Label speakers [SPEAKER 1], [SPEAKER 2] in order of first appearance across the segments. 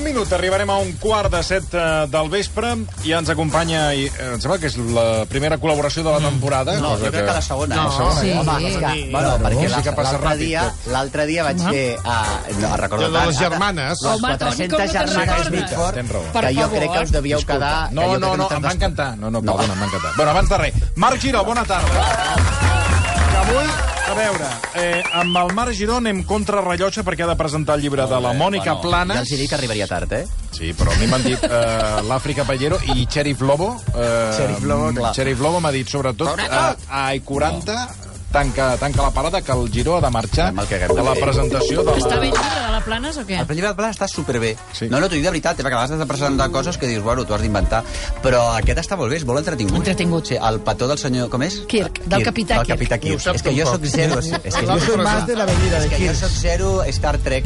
[SPEAKER 1] minut arribarem a un quart de set eh, del vespre i ens acompanya, i, eh, em sembla que és la primera col·laboració de la temporada.
[SPEAKER 2] Mm. No,
[SPEAKER 1] cosa
[SPEAKER 2] jo crec que la segona.
[SPEAKER 1] La
[SPEAKER 2] eh?
[SPEAKER 1] segona,
[SPEAKER 3] sí.
[SPEAKER 1] ja.
[SPEAKER 2] Home,
[SPEAKER 3] Sí.
[SPEAKER 2] és
[SPEAKER 3] Sí.
[SPEAKER 2] que, bueno, perquè
[SPEAKER 1] Sí que
[SPEAKER 2] l'altre
[SPEAKER 1] passa
[SPEAKER 2] l'altre
[SPEAKER 1] ràpid,
[SPEAKER 2] dia,
[SPEAKER 1] tot.
[SPEAKER 2] l'altre dia vaig fer... Uh, no, recordo
[SPEAKER 4] Allò de les
[SPEAKER 2] tant.
[SPEAKER 4] germanes.
[SPEAKER 2] Les
[SPEAKER 3] Home, Toni, com no
[SPEAKER 2] 400
[SPEAKER 3] te'n
[SPEAKER 2] germanes
[SPEAKER 3] recordes?
[SPEAKER 2] Mitford,
[SPEAKER 1] Tens raó.
[SPEAKER 3] Per
[SPEAKER 2] que jo
[SPEAKER 3] favor.
[SPEAKER 2] crec que us devíeu quedar... que
[SPEAKER 1] No,
[SPEAKER 2] jo
[SPEAKER 1] no,
[SPEAKER 2] crec
[SPEAKER 1] no,
[SPEAKER 2] que
[SPEAKER 1] em
[SPEAKER 2] te'n
[SPEAKER 1] va
[SPEAKER 2] vas-
[SPEAKER 1] encantar. No, no, perdona, em va encantar. Bueno, abans de res, Marc Giró, bona tarda. Avui, a veure, eh, amb el Marc Giró anem contrarrellotge perquè ha de presentar el llibre de la Mònica
[SPEAKER 2] Bueno, Ja
[SPEAKER 1] Planes.
[SPEAKER 2] els hi dic que arribaria tard, eh?
[SPEAKER 1] Sí, però a mi m'han dit eh, l'Àfrica Pallero i Sheriff Lobo. Eh,
[SPEAKER 2] Sheriff Lobo,
[SPEAKER 1] mm,
[SPEAKER 2] clar.
[SPEAKER 1] Sheriff Lobo m'ha dit, sobretot, a, a I40 tanca, tanca la parada que el Giró ha de marxar
[SPEAKER 2] Amb el que haguem de
[SPEAKER 1] a la
[SPEAKER 2] fer.
[SPEAKER 1] presentació de
[SPEAKER 3] Està
[SPEAKER 1] la...
[SPEAKER 3] bé el llibre de la Planes o què?
[SPEAKER 2] El llibre de Pla està superbé.
[SPEAKER 1] Sí.
[SPEAKER 2] No, no, t'ho dic de veritat, eh, perquè a vegades has de presentar coses que dius, bueno, t'ho has d'inventar. Però aquest està molt bé, és molt entretingut.
[SPEAKER 3] Entretingut.
[SPEAKER 2] Sí, el petó del senyor, com és?
[SPEAKER 3] Kirk, del capità
[SPEAKER 2] Del capità
[SPEAKER 4] Ni ho
[SPEAKER 2] Kirk.
[SPEAKER 4] saps
[SPEAKER 2] És que jo
[SPEAKER 4] tampoc.
[SPEAKER 2] sóc zero. És, és que jo
[SPEAKER 4] L'altre
[SPEAKER 2] sóc
[SPEAKER 4] Más
[SPEAKER 2] zero-
[SPEAKER 4] de
[SPEAKER 5] la venida de
[SPEAKER 2] és que jo sóc zero Star Trek.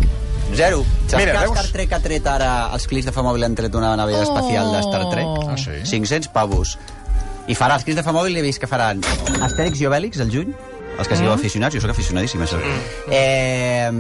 [SPEAKER 2] Zero. Saps
[SPEAKER 1] Mira,
[SPEAKER 2] que
[SPEAKER 1] veus?
[SPEAKER 2] Star Trek ha tret ara, els clics de Famòbil han tret una navella espacial de Star Trek?
[SPEAKER 3] Oh. Ah,
[SPEAKER 1] sí?
[SPEAKER 2] 500 pavos. I farà, els clics de Famòbil he vist que faran Astèrix i Obèlix el juny, els que sigueu
[SPEAKER 3] Mm.
[SPEAKER 2] aficionats, jo sóc aficionadíssim, això. Eh,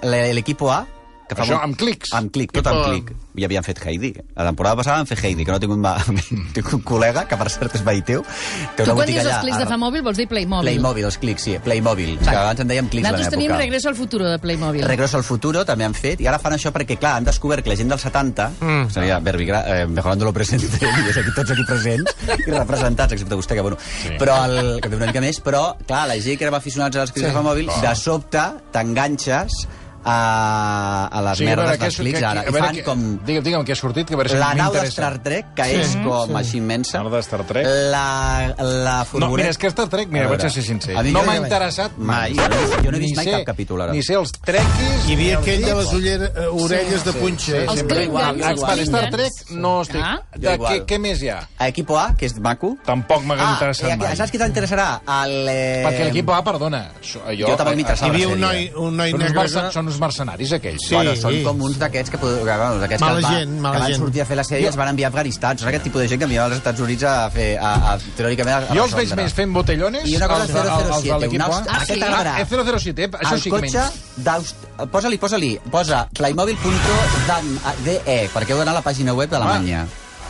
[SPEAKER 2] l'e- L'equipo A, que
[SPEAKER 1] Això amb clics.
[SPEAKER 2] Amb clic, tot amb clic. I havien fet Heidi. La temporada passada van fer Heidi, que no tinc un, ma- tinc un col·lega, que per cert és veí teu. Té
[SPEAKER 3] Tu
[SPEAKER 2] una
[SPEAKER 3] quan
[SPEAKER 2] botiga
[SPEAKER 3] dius els
[SPEAKER 2] allà
[SPEAKER 3] clics
[SPEAKER 2] a-
[SPEAKER 3] de Famòbil vols dir Playmobil.
[SPEAKER 2] Playmobil, els clics, sí, Playmobil. Que abans en dèiem clics a la meva
[SPEAKER 3] Nosaltres tenim
[SPEAKER 2] època.
[SPEAKER 3] Regreso al Futuro de Playmobil.
[SPEAKER 2] Regreso al futuro també han fet, i ara fan això perquè, clar, han descobert que la gent del 70, mm. seria Verbi Gra, eh, mejorando lo presente, i és aquí, tots aquí presents, i representats, excepte vostè, que bueno, sí. però el, que té una mica més, però, clar, la gent que érem aficionats a les crisis sí. de
[SPEAKER 1] Oh.
[SPEAKER 2] mòbil, de sobte t'enganxes a, a les sí, merdes dels
[SPEAKER 1] que,
[SPEAKER 2] clics ara, i fan
[SPEAKER 1] que,
[SPEAKER 2] com...
[SPEAKER 1] Digue'm, digue'm què ha sortit, que a veure si
[SPEAKER 2] La nau de
[SPEAKER 1] m'interessa.
[SPEAKER 2] Star Trek, que sí, és com sí. així immensa.
[SPEAKER 1] Nau de Star Trek.
[SPEAKER 2] La, la
[SPEAKER 1] No,
[SPEAKER 2] furgoneta...
[SPEAKER 1] mira, és que Star Trek, mira,
[SPEAKER 2] A veure,
[SPEAKER 1] vaig ser sincer.
[SPEAKER 2] a mi
[SPEAKER 1] No
[SPEAKER 2] jo
[SPEAKER 1] m'ha
[SPEAKER 2] vaig-
[SPEAKER 1] interessat
[SPEAKER 2] mai. Jo no he vist
[SPEAKER 1] Ni
[SPEAKER 2] mai
[SPEAKER 1] sé-
[SPEAKER 2] cap capítol, ara.
[SPEAKER 1] Ni sé els trequis...
[SPEAKER 4] Hi
[SPEAKER 1] ni els
[SPEAKER 4] havia aquell de
[SPEAKER 1] llits.
[SPEAKER 4] les uller, eh, orelles sí, de punxa.
[SPEAKER 3] Els
[SPEAKER 4] Sí,
[SPEAKER 1] Sempre igual.
[SPEAKER 3] Klingons, els
[SPEAKER 1] Ah, per Star
[SPEAKER 3] Klingons.
[SPEAKER 1] Trek no estic...
[SPEAKER 3] Ah.
[SPEAKER 1] De,
[SPEAKER 2] Jo
[SPEAKER 1] què,
[SPEAKER 2] igual.
[SPEAKER 1] què més hi ha?
[SPEAKER 2] A Equipo A, que és maco,
[SPEAKER 1] Tampoc m'hagués
[SPEAKER 2] Ah,
[SPEAKER 1] interessat
[SPEAKER 2] eh,
[SPEAKER 1] mai.
[SPEAKER 2] Saps qui t'interessarà? El... Eh...
[SPEAKER 1] Perquè l'equip A, perdona... so-
[SPEAKER 2] Jo, jo també
[SPEAKER 4] Hi
[SPEAKER 2] m'interessava.
[SPEAKER 4] havia
[SPEAKER 2] la
[SPEAKER 4] un noi,
[SPEAKER 2] sèrie.
[SPEAKER 4] un noi
[SPEAKER 1] Són uns,
[SPEAKER 4] negre...
[SPEAKER 2] eh?
[SPEAKER 1] mercen, són uns mercenaris, aquells.
[SPEAKER 4] Sí.
[SPEAKER 2] Bueno, són com uns d'aquests que, pod- que, bueno, d'aquests
[SPEAKER 4] Mala
[SPEAKER 2] que, va-
[SPEAKER 4] gent, mala
[SPEAKER 2] que van
[SPEAKER 4] gent.
[SPEAKER 2] sortir a fer la sèrie i es van enviar a Afganistan. Són aquest tipus de gent que enviava als Estats Units a fer, a, a, teòricament, a, a
[SPEAKER 1] Jo els veig
[SPEAKER 2] resoldre.
[SPEAKER 1] més fent botellones...
[SPEAKER 2] I una cosa
[SPEAKER 1] els de- els de
[SPEAKER 2] 007,
[SPEAKER 1] l'equip
[SPEAKER 2] una
[SPEAKER 1] A.
[SPEAKER 2] aust- Ah,
[SPEAKER 3] sí?
[SPEAKER 1] Aquest
[SPEAKER 2] t'agradarà.
[SPEAKER 1] Ah, és 007, eh? Això
[SPEAKER 2] el
[SPEAKER 1] sí que
[SPEAKER 2] cotxe
[SPEAKER 1] menys.
[SPEAKER 2] d'Aust... Posa-li, posa-li. Posa playmobil.de, e, perquè heu d'anar a la pàgina web d'Alemanya.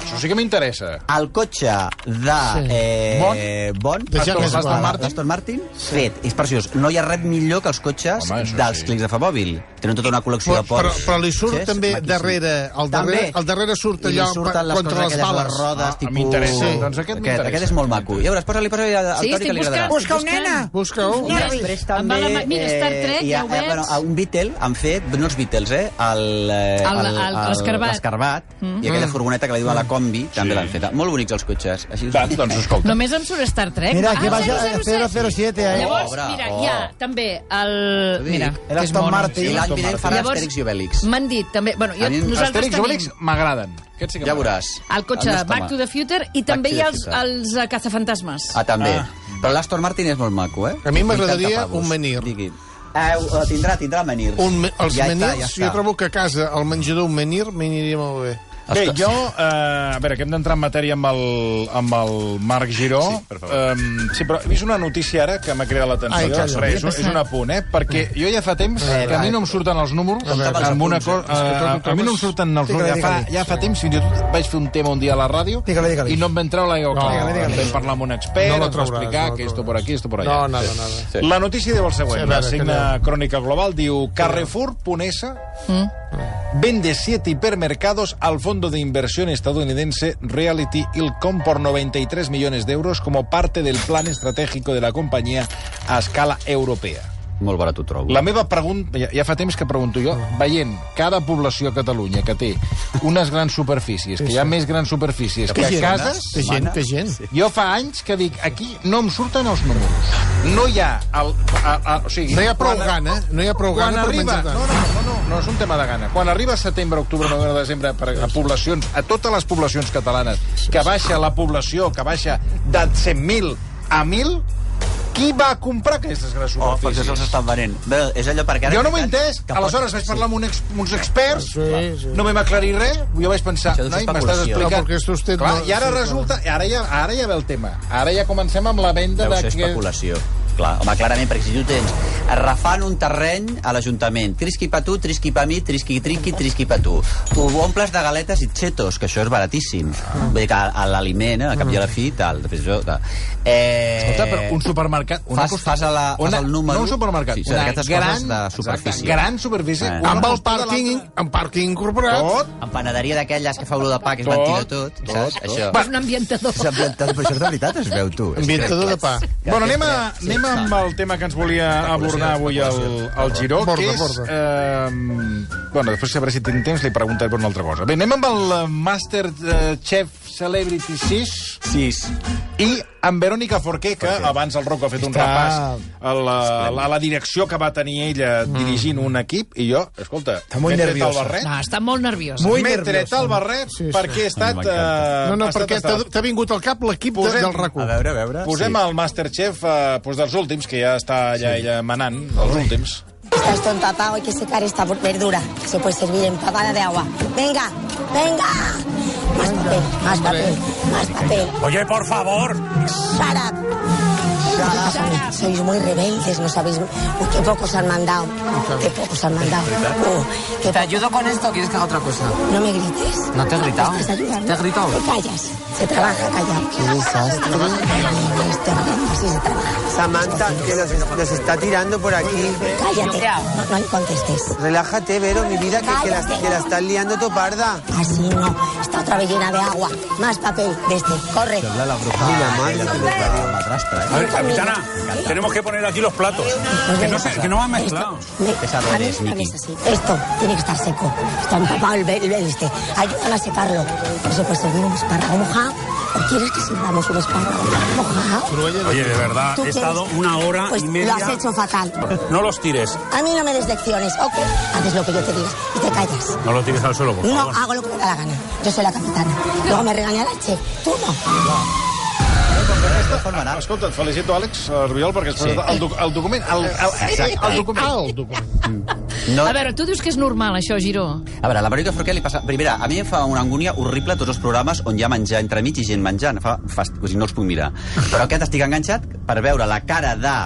[SPEAKER 1] Això sí que m'interessa.
[SPEAKER 2] El cotxe de... Eh, bon.
[SPEAKER 4] De Jack
[SPEAKER 1] Aston
[SPEAKER 4] Sparrow.
[SPEAKER 1] Martin.
[SPEAKER 2] Aston Martin, fet, és preciós. No hi ha res millor que els cotxes
[SPEAKER 1] Home, això
[SPEAKER 2] dels
[SPEAKER 1] sí.
[SPEAKER 2] clics de Famòbil. Tenen tota una col·lecció
[SPEAKER 4] Però,
[SPEAKER 2] de
[SPEAKER 4] però,
[SPEAKER 2] ports.
[SPEAKER 4] però li surt
[SPEAKER 2] Cotxes
[SPEAKER 4] també
[SPEAKER 2] maquíssims.
[SPEAKER 4] darrere, al
[SPEAKER 2] També.
[SPEAKER 4] darrere, al darrere surt
[SPEAKER 2] I li
[SPEAKER 4] allò
[SPEAKER 2] surten les
[SPEAKER 4] contra
[SPEAKER 2] coses
[SPEAKER 4] les
[SPEAKER 2] aquelles,
[SPEAKER 4] bales.
[SPEAKER 2] Les rodes,
[SPEAKER 1] Ah,
[SPEAKER 2] tipus...
[SPEAKER 1] m'interessa.
[SPEAKER 4] Sí.
[SPEAKER 1] Doncs aquest
[SPEAKER 2] aquest,
[SPEAKER 1] m'interessa.
[SPEAKER 2] aquest és molt maco. I llavors, posa-li, posa-li al sí,
[SPEAKER 3] Sí,
[SPEAKER 2] Toni
[SPEAKER 3] estic
[SPEAKER 2] que li agradarà.
[SPEAKER 3] buscant. Busca un
[SPEAKER 4] Busca-ho.
[SPEAKER 2] I després
[SPEAKER 3] Em va
[SPEAKER 2] també... eh,
[SPEAKER 3] la mà- mira, Star Trek,
[SPEAKER 2] hi ha,
[SPEAKER 3] ja ho veig.
[SPEAKER 2] bueno, un Beatle han fet, no els Beatles, eh? El, eh,
[SPEAKER 3] El- el- l'escarbat. Mm.
[SPEAKER 2] l'escarbat, I aquella furgoneta que li diuen la combi, també l'han fet. Molt bonics els cotxes. Així us ho
[SPEAKER 1] Mm. Doncs,
[SPEAKER 2] dic.
[SPEAKER 1] doncs escolta.
[SPEAKER 3] Només em surt Star Trek. Ah,
[SPEAKER 5] Mira, que vaja,
[SPEAKER 3] 007.
[SPEAKER 5] 007, eh?
[SPEAKER 3] Llavors,
[SPEAKER 2] Obra,
[SPEAKER 3] mira,
[SPEAKER 2] oh.
[SPEAKER 3] hi ha també el...
[SPEAKER 2] Ho dic.
[SPEAKER 3] Mira,
[SPEAKER 5] El
[SPEAKER 3] que és
[SPEAKER 5] Aston
[SPEAKER 3] mono.
[SPEAKER 5] Martin.
[SPEAKER 2] I l'any vinent farà
[SPEAKER 3] Llavors-
[SPEAKER 2] Astèrix i Obèlix.
[SPEAKER 3] M'han dit també... Bueno, jo,
[SPEAKER 2] A mi-
[SPEAKER 3] nosaltres
[SPEAKER 1] Asterix i
[SPEAKER 3] tenim
[SPEAKER 1] Obelix m'agraden. Aquests sí que
[SPEAKER 2] Ja
[SPEAKER 1] m'agraden.
[SPEAKER 2] veuràs.
[SPEAKER 3] el cotxe
[SPEAKER 2] El nostre
[SPEAKER 3] Back
[SPEAKER 2] home.
[SPEAKER 3] to the Future i també
[SPEAKER 2] to
[SPEAKER 3] hi
[SPEAKER 2] the
[SPEAKER 3] ha els,
[SPEAKER 2] Future.
[SPEAKER 3] els eh, cazafantasmes.
[SPEAKER 2] Ah, també. Però l'Astor Martin és molt maco, eh?
[SPEAKER 4] A mi m'agradaria
[SPEAKER 2] 80 pavos.
[SPEAKER 4] un menhir.
[SPEAKER 2] Digui. Eh, ho- tindrà, tindrà menir.
[SPEAKER 4] Un, me- els ja
[SPEAKER 2] està,
[SPEAKER 4] menhirs,
[SPEAKER 2] està.
[SPEAKER 4] jo trobo que a casa, al menjador, un menhir m'aniria molt bé.
[SPEAKER 1] Bé, jo... Eh, a veure, que hem d'entrar en matèria amb el, amb el Marc Giró. Sí, per favor. Um, sí, però he vist una notícia ara que m'ha creat
[SPEAKER 4] Ai,
[SPEAKER 1] l'atenció.
[SPEAKER 4] calla.
[SPEAKER 1] Res, és, un- és un apunt, eh? Perquè jo ja fa temps que a mi no em surten els números.
[SPEAKER 2] Com tapes
[SPEAKER 1] amb
[SPEAKER 2] els
[SPEAKER 1] una
[SPEAKER 2] punts,
[SPEAKER 1] cosa,
[SPEAKER 4] eh? És que
[SPEAKER 1] eh,
[SPEAKER 4] tot ho
[SPEAKER 1] a mi no em
[SPEAKER 4] tapes.
[SPEAKER 1] surten els números.
[SPEAKER 5] Digue-li,
[SPEAKER 1] Ja fa,
[SPEAKER 5] digue-li.
[SPEAKER 1] ja fa temps, fins i tot vaig fer un tema un dia a la ràdio
[SPEAKER 5] Digue-li, digue-li.
[SPEAKER 1] i no em va entrar l'aigua clara.
[SPEAKER 5] digue-li, digue-li.
[SPEAKER 1] Vam parlar amb un expert,
[SPEAKER 4] No
[SPEAKER 1] ens
[SPEAKER 4] la
[SPEAKER 1] va
[SPEAKER 4] trauràs,
[SPEAKER 1] explicar
[SPEAKER 4] no la
[SPEAKER 1] que esto
[SPEAKER 4] trauràs.
[SPEAKER 1] por aquí, esto por allà.
[SPEAKER 4] No, no, no, no.
[SPEAKER 1] Sí. La notícia diu el següent,
[SPEAKER 4] Sí, a
[SPEAKER 1] la
[SPEAKER 4] veure,
[SPEAKER 1] signa
[SPEAKER 4] que
[SPEAKER 1] Crònica Global, diu Carrefour Punesa vende siete hipermercados al fondo de inversión estadounidense Reality Ilcom por 93 millones de euros como parte del plan estratégico de la compañía a escala europea.
[SPEAKER 2] Molt barat ho trobo.
[SPEAKER 1] La meva pregunta, ja, ja fa temps que pregunto jo,
[SPEAKER 4] Mm.
[SPEAKER 1] veient cada població a Catalunya que té unes grans superfícies, que hi ha més grans superfícies que a cases,
[SPEAKER 2] eh?
[SPEAKER 4] Té gent, té gent.
[SPEAKER 1] jo fa anys que dic, aquí no em surten els números. No hi ha... El, a, a, o sigui,
[SPEAKER 4] No hi ha prou
[SPEAKER 1] quan-
[SPEAKER 4] gana, no hi ha prou
[SPEAKER 1] Quan
[SPEAKER 4] gana per
[SPEAKER 1] arriba...
[SPEAKER 4] menjar
[SPEAKER 1] No,
[SPEAKER 4] tant.
[SPEAKER 1] no, no, no, no, és un tema de gana. Quan arriba setembre, octubre, novembre, desembre, per a poblacions, a totes les poblacions catalanes, que baixa la població, que baixa de 100.000 a 1.000, qui va comprar aquestes grans
[SPEAKER 2] Oh, per això
[SPEAKER 1] superfícies?
[SPEAKER 2] se'ls estan venent. Bé, és allò perquè... ara-
[SPEAKER 1] Jo no m'he entès.
[SPEAKER 2] que pot-
[SPEAKER 1] Aleshores vaig parlar amb un ex, amb uns experts,
[SPEAKER 4] Sí, sí.
[SPEAKER 1] no vam aclarir res, jo vaig pensar,
[SPEAKER 2] Això és
[SPEAKER 1] noi,
[SPEAKER 2] especulació.
[SPEAKER 1] m'estàs
[SPEAKER 4] No,
[SPEAKER 1] explicant...
[SPEAKER 4] perquè esto usted
[SPEAKER 1] Clar,
[SPEAKER 4] no-
[SPEAKER 1] I ara
[SPEAKER 4] sí,
[SPEAKER 1] resulta... Ara ja, ara ja ve el tema. Ara ja comencem amb la venda
[SPEAKER 2] Deu ser
[SPEAKER 1] d'aquest...
[SPEAKER 2] especulació. Clar, home, clarament, perquè si tu tens arrafant un terreny a l'Ajuntament, trisqui pa tu, trisqui pa mi, trisqui triqui, trisqui pa tu, ho omples de galetes i xetos, que això és baratíssim. Vull dir que a- a l'aliment, eh, a cap i a la fi, tal. Després això, tal. Eh...
[SPEAKER 5] Escolta, però un supermercat... on
[SPEAKER 2] Fas-
[SPEAKER 5] acost-
[SPEAKER 2] fas a la-
[SPEAKER 5] on
[SPEAKER 2] fas al número.
[SPEAKER 1] No un supermercat,
[SPEAKER 2] Sí, sí,
[SPEAKER 1] una
[SPEAKER 2] d'aquestes
[SPEAKER 1] gran,
[SPEAKER 2] coses de superfície.
[SPEAKER 1] gran superfície.
[SPEAKER 2] Eh.
[SPEAKER 1] una
[SPEAKER 4] Amb el
[SPEAKER 1] costat de
[SPEAKER 4] pàrquing,
[SPEAKER 1] l'altra.
[SPEAKER 4] amb pàrquing incorporat.
[SPEAKER 1] Tot.
[SPEAKER 2] En panaderia d'aquelles que fa olor de pa, que es ventila tot, saps? Això.
[SPEAKER 3] És un ambientador.
[SPEAKER 2] És ambientador, però això de veritat es veu, tu.
[SPEAKER 4] Ambientador de pa.
[SPEAKER 1] Bueno, anem, a, anem amb el tema que ens volia abordar avui al, al Giró, que
[SPEAKER 4] Borda,
[SPEAKER 1] és...
[SPEAKER 4] borda.
[SPEAKER 1] Eh, bueno, després, a veure si tinc temps, li preguntaré per una altra cosa. Bé, anem amb el eh, Master eh, Chef Celebrity 6
[SPEAKER 2] Sis.
[SPEAKER 1] i amb Verònica Forqué, que abans el Rocco ha fet un
[SPEAKER 4] Està-
[SPEAKER 1] repàs a la, a la direcció que va tenir ella dirigint un equip, i jo, escolta,
[SPEAKER 6] molt
[SPEAKER 1] m'he tret el
[SPEAKER 6] nerviosa.
[SPEAKER 1] barret,
[SPEAKER 3] No, està molt nerviós.
[SPEAKER 6] Muy
[SPEAKER 1] m'he tret
[SPEAKER 6] nerviosa.
[SPEAKER 1] el barret
[SPEAKER 4] Sí, sí.
[SPEAKER 1] perquè he estat... Eh,
[SPEAKER 4] No, no,
[SPEAKER 1] ha estat
[SPEAKER 4] perquè t'ha
[SPEAKER 1] estat-
[SPEAKER 4] t'ha vingut al cap l'equip de,
[SPEAKER 1] Posem-
[SPEAKER 4] del RAC1.
[SPEAKER 2] A veure, a veure.
[SPEAKER 1] Posem el Masterchef eh, doncs dels últims, que ja està allà ella manant, els últims.
[SPEAKER 7] Está esto empapado, hay que secar esta verdura. Se puede servir empapada de agua. Venga, venga. Más papel, más papel, más papel.
[SPEAKER 6] Oye, por favor.
[SPEAKER 7] Shut up. Sois muy rebeldes, no sabéis. Uy, qué pocos han mandado. Qué pocos han mandado. Uh, qué
[SPEAKER 8] ¿Te
[SPEAKER 7] po-
[SPEAKER 8] ayudo con esto o quieres que haga otra cosa?
[SPEAKER 7] No me grites.
[SPEAKER 8] No te he gritado.
[SPEAKER 7] Me estás ayudando.
[SPEAKER 8] Te he gritado.
[SPEAKER 7] No callas. Se trabaja callado. Qué desastre. Este programa sí se trabaja.
[SPEAKER 8] Samantha, que nos, nos está tirando por aquí.
[SPEAKER 7] Cállate. No, no le contestes.
[SPEAKER 8] Relájate, Vero, mi vida, que, que la, que la estás liando toparda.
[SPEAKER 7] Así no. Está otra vez llena de agua. Más papel de este. Corre.
[SPEAKER 2] Sembla la bruja.
[SPEAKER 8] Ai, la mare
[SPEAKER 2] La
[SPEAKER 8] que
[SPEAKER 2] bruja
[SPEAKER 8] parió.
[SPEAKER 2] de la madrastra,
[SPEAKER 6] A
[SPEAKER 2] eh?
[SPEAKER 6] ver, capitana, tenemos que poner aquí los platos. Que no, se, que no va mezclado.
[SPEAKER 7] Me-
[SPEAKER 2] Pesado
[SPEAKER 7] a mí
[SPEAKER 2] eres,
[SPEAKER 7] me
[SPEAKER 2] Miki.
[SPEAKER 7] ves así. Esto tiene que estar seco. Está empapado el, el, el este. Ayúdala a secarlo. No se puede servir un espárrago mojado. ¿O quieres que sirvamos un espárrago mojado?
[SPEAKER 6] Oye, de verdad,
[SPEAKER 7] ¿Tú
[SPEAKER 6] he estado
[SPEAKER 7] quieres?
[SPEAKER 6] una hora
[SPEAKER 7] Pues
[SPEAKER 6] y media...
[SPEAKER 7] Lo has hecho fatal.
[SPEAKER 6] No los tires,
[SPEAKER 7] A mí no me des lecciones. Ok, haces lo que yo te diga y te callas.
[SPEAKER 6] no los tires al suelo, por
[SPEAKER 7] No
[SPEAKER 6] favor.
[SPEAKER 7] hago lo que me da la gana. Yo soy la capitana. Luego me regañará el chef. Tú no.
[SPEAKER 1] Ah, Escolta, et felicito, Àlex eh, Rubiol, perquè has presentat el, doc el document. El, el, el, el document. Ah, El document.
[SPEAKER 2] No,
[SPEAKER 3] A veure, tu dius que és normal, això, Giró?
[SPEAKER 2] A veure, a la Verònica Forqué li passa... Primera, a mi em fa una angúnia horrible tots els programes on hi ha menjar entremig i gent menjant. Fa, fa, o sigui, no els puc mirar. Però aquest estic enganxat per veure la cara de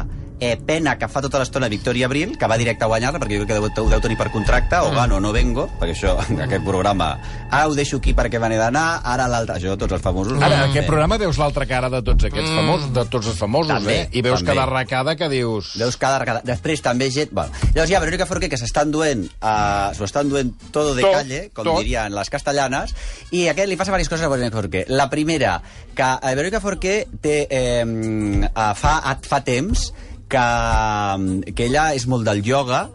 [SPEAKER 2] eh, pena que fa tota l'estona Victoria Abril, que va directe a guanyar-la, perquè jo crec que deu, deu tenir per contracte,
[SPEAKER 5] Mm.
[SPEAKER 2] o gano, no vengo, perquè això, aquest programa, ara ho deixo aquí perquè me n'he d'anar, ara l'altre... Això, tots els famosos...
[SPEAKER 5] Ara,
[SPEAKER 2] Eh,
[SPEAKER 5] aquest programa veus l'altra cara de tots aquests
[SPEAKER 1] Mm.
[SPEAKER 5] famosos, de tots els famosos,
[SPEAKER 2] També,
[SPEAKER 5] eh? I veus
[SPEAKER 2] també.
[SPEAKER 5] cada arracada que dius...
[SPEAKER 2] Veus cada arcada. Després també gent... Bueno, llavors hi ha Verónica Forqué que s'estan duent, uh, s'ho estan duent todo de
[SPEAKER 1] Tot,
[SPEAKER 2] calle, com
[SPEAKER 1] tot.
[SPEAKER 2] dirien les castellanes, i a aquest li passa diverses coses a Verónica Forqué. La primera, que eh, Verónica Forqué té, eh, eh, fa, fa temps que, que ella és molt del ioga,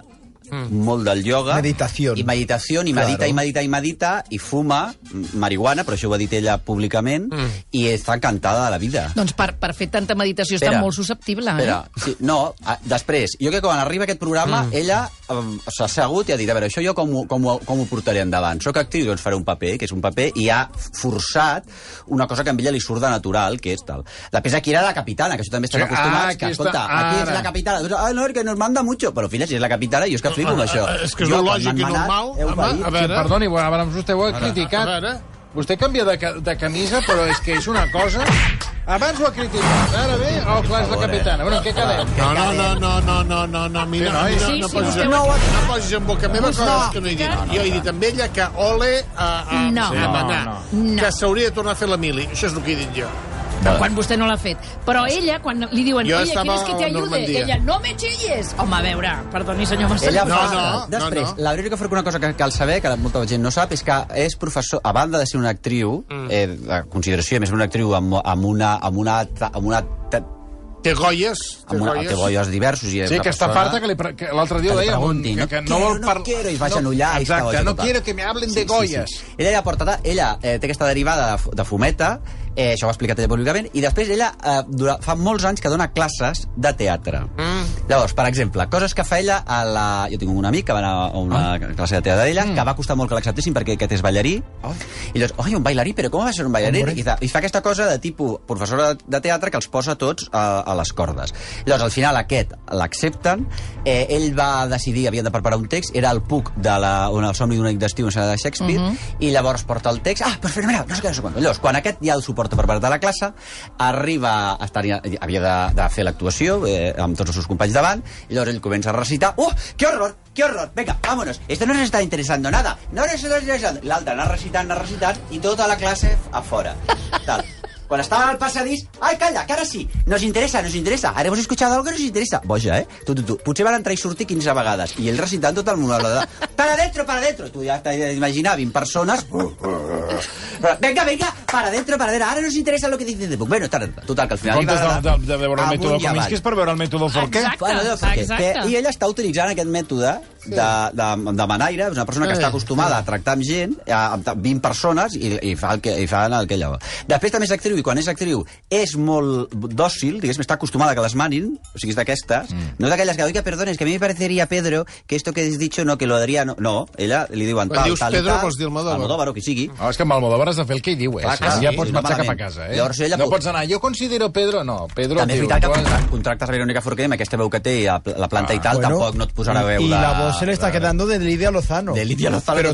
[SPEAKER 2] Mm. molt del ioga.
[SPEAKER 6] Meditación.
[SPEAKER 2] I meditació, i medita,
[SPEAKER 6] Claro.
[SPEAKER 2] i medita, i medita, i fuma mm, marihuana, però això ho ha dit ella públicament,
[SPEAKER 1] Mm.
[SPEAKER 2] i està encantada de la vida.
[SPEAKER 3] Doncs per, per fer tanta meditació està molt susceptible, eh?
[SPEAKER 2] Espera, sí, no, a, després, jo crec que quan arriba aquest programa, mm. ella eh, s'ha assegut i ha dit, a veure, això jo com, ho- com, ho- com ho portaré endavant? Soc actriu, doncs faré un paper, que és un paper, i ha forçat una cosa que a ella li surt de natural, que és tal. Després aquí era la capitana, que això també estem
[SPEAKER 5] Sí,
[SPEAKER 2] sí,
[SPEAKER 5] ah,
[SPEAKER 2] acostumats, que,
[SPEAKER 5] aquí està,
[SPEAKER 2] escolta, aquí és
[SPEAKER 5] ara.
[SPEAKER 2] la capitana. Doncs, ah, no, que nos manda mucho. Però, filla, si és la capitana, jo és que flipo amb això.
[SPEAKER 4] Ah, és que és
[SPEAKER 2] Jo,
[SPEAKER 4] lo
[SPEAKER 2] quan
[SPEAKER 4] lògic
[SPEAKER 2] m'han
[SPEAKER 4] i
[SPEAKER 2] manat,
[SPEAKER 4] normal.
[SPEAKER 2] heu
[SPEAKER 4] Home,
[SPEAKER 2] paït.
[SPEAKER 4] a veure.
[SPEAKER 5] Sí, perdoni, bueno, abans vostè ho ha criticat.
[SPEAKER 4] A veure.
[SPEAKER 5] Vostè canvia de, ca- de camisa, però és que és una cosa... Abans ho ha criticat, ara bé, oh, clar, és la capitana. Bueno, en què quedem?
[SPEAKER 4] No, no, no, no, no, no, no, no, mira,
[SPEAKER 1] noi.
[SPEAKER 4] mira,
[SPEAKER 3] Sí,
[SPEAKER 4] no
[SPEAKER 3] sí, eh.
[SPEAKER 4] posis
[SPEAKER 3] vostè ho
[SPEAKER 4] en-
[SPEAKER 3] ha
[SPEAKER 4] no posis en boca meva coses que no he dit.
[SPEAKER 3] No, no,
[SPEAKER 4] Jo he dit amb ella que ole a, a,
[SPEAKER 3] No.
[SPEAKER 4] a manar,
[SPEAKER 3] No, no.
[SPEAKER 4] que s'hauria de tornar a fer la mili. Això és el que he dit jo.
[SPEAKER 3] Però quan vostè no l'ha fet. Però ella, quan li diuen,
[SPEAKER 4] Jo
[SPEAKER 3] oye,
[SPEAKER 4] estava
[SPEAKER 3] ¿quieres que te
[SPEAKER 4] a
[SPEAKER 3] ayude?
[SPEAKER 4] Normandia.
[SPEAKER 3] Ella, no me chilles. Home, a veure, perdoni, senyor
[SPEAKER 2] Ella
[SPEAKER 3] Marcelí.
[SPEAKER 4] No,
[SPEAKER 2] fa...
[SPEAKER 4] no, no,
[SPEAKER 2] Després,
[SPEAKER 4] no.
[SPEAKER 2] la Verónica Forqué, una cosa que cal saber, que molta gent no sap, és que és professor, a banda de ser una actriu,
[SPEAKER 4] Mm.
[SPEAKER 2] eh, de consideració, i a més una actriu amb, amb una... Amb una, ta- amb una ta-
[SPEAKER 4] Té goies, té
[SPEAKER 2] amb una, té
[SPEAKER 4] goies.
[SPEAKER 2] goies diversos. I és
[SPEAKER 5] Sí,
[SPEAKER 2] una
[SPEAKER 5] que està
[SPEAKER 2] persona-
[SPEAKER 5] farta que li pre- que l'altre dia
[SPEAKER 2] que
[SPEAKER 5] ho
[SPEAKER 2] li
[SPEAKER 5] deia, un-
[SPEAKER 2] preguntin,
[SPEAKER 5] que, que no
[SPEAKER 2] quiero,
[SPEAKER 5] vol
[SPEAKER 2] no
[SPEAKER 5] parlar...
[SPEAKER 2] quiero, i es va genollar.
[SPEAKER 5] Exacte, no quiero que me hablen de goyes.
[SPEAKER 2] Ella ja porta... Ella eh, té aquesta derivada de, fu- de fumeta, eh, això ho ha explicat ella públicament, i després ella eh, dura, fa molts anys que dona classes de teatre. Mm. Llavors, per exemple, coses que fa ella a la... Jo tinc un amic que va anar a una
[SPEAKER 5] Ah.
[SPEAKER 2] classe de teatre
[SPEAKER 5] Mm.
[SPEAKER 2] d'ella, que va costar molt que l'acceptessin perquè aquest és ballarí.
[SPEAKER 5] Oh.
[SPEAKER 2] I llavors, oi, un ballarí, però com va ser un ballarí? I, fa- I fa aquesta cosa de tipus professora de teatre que els posa tots a, a les cordes. Llavors, al final, aquest l'accepten, eh, ell va decidir, havien de preparar un text, era el puc de la, on el somni d'un únic destí, una de Shakespeare, i llavors porta el text, ah, però fenomenal, no sé què, no sé quan. Llavors, quan aquest ja el suporta per part de la classe, arriba, a estar, havia de, de fer l'actuació eh, amb tots els seus companys davant, i llavors ell comença a recitar, oh, qué horror, qué horror, venga, vámonos, esto no nos está interesando nada, no nos está interesando. L'altre anar recitant, anar recitant, i tota la classe a fora. Tal. Quan estàvem al passadís... Ai, calla, que ara sí! Nos interessa, nos interessa. Ara hemos escuchado algo que nos interessa. Boja, eh? Tu, tu, tu. Potser van entrar i sortir 15 vegades. I ell recitant tot el monòleg de... Para dentro, para dentro. Tu ja t'imaginar 20 persones... Però, venga, venga, para dentro, para dentro. Ara nos interessa lo que dice de Puc. Bueno, tal, tal. total, que
[SPEAKER 1] En
[SPEAKER 2] al final... li va
[SPEAKER 1] comptes de,
[SPEAKER 2] agradar.
[SPEAKER 1] de, de veure el
[SPEAKER 2] Amunt
[SPEAKER 1] mètode
[SPEAKER 2] i avall.
[SPEAKER 1] Kominsky és per veure el mètode Forqué.
[SPEAKER 3] Exacte.
[SPEAKER 2] Bueno, allò, perquè,
[SPEAKER 3] exacte.
[SPEAKER 2] Que, I ella està utilitzant aquest mètode de, de, de manaire, és una persona
[SPEAKER 3] Eh,
[SPEAKER 2] que està acostumada a tractar amb gent, a, amb ta- 20 persones, i, i, fa el que, i fa el que ella va. Després també és actriu, i quan és actriu és molt dòcil, diguéssim, està acostumada a que les manin, o sigui, és d'aquestes, mm. no d'aquelles que, oiga, perdona, és que a mi me parecería, Pedro, que esto que has dicho no, que lo daría... No, no ella li diuen
[SPEAKER 4] Quan
[SPEAKER 2] tal,
[SPEAKER 4] dius
[SPEAKER 2] tal,
[SPEAKER 4] Pedro,
[SPEAKER 2] tal,
[SPEAKER 4] vols dir Almodóvar.
[SPEAKER 2] Almodóvar, o qui sigui.
[SPEAKER 5] Ah, és que amb Almodóvar has de fer el que hi diu, eh?
[SPEAKER 2] Clar, clar,
[SPEAKER 5] ja
[SPEAKER 2] sí,
[SPEAKER 5] pots
[SPEAKER 2] sí,
[SPEAKER 5] marxar cap a
[SPEAKER 2] malament.
[SPEAKER 5] casa, eh?
[SPEAKER 2] Llavors ella
[SPEAKER 5] no
[SPEAKER 2] pot-
[SPEAKER 5] pots anar, jo considero Pedro... No, Pedro...
[SPEAKER 2] També és
[SPEAKER 5] diu,
[SPEAKER 2] veritat que
[SPEAKER 5] tu has-
[SPEAKER 2] contractes, contractes a Verónica Forqué amb aquesta veu que té i a pl- la planta i tal,
[SPEAKER 9] Ah, Bueno,
[SPEAKER 2] tampoc no et posarà a veure...
[SPEAKER 9] Y la voz se le está quedando de Lidia Lozano.
[SPEAKER 2] De Lidia Lozano.
[SPEAKER 9] Pero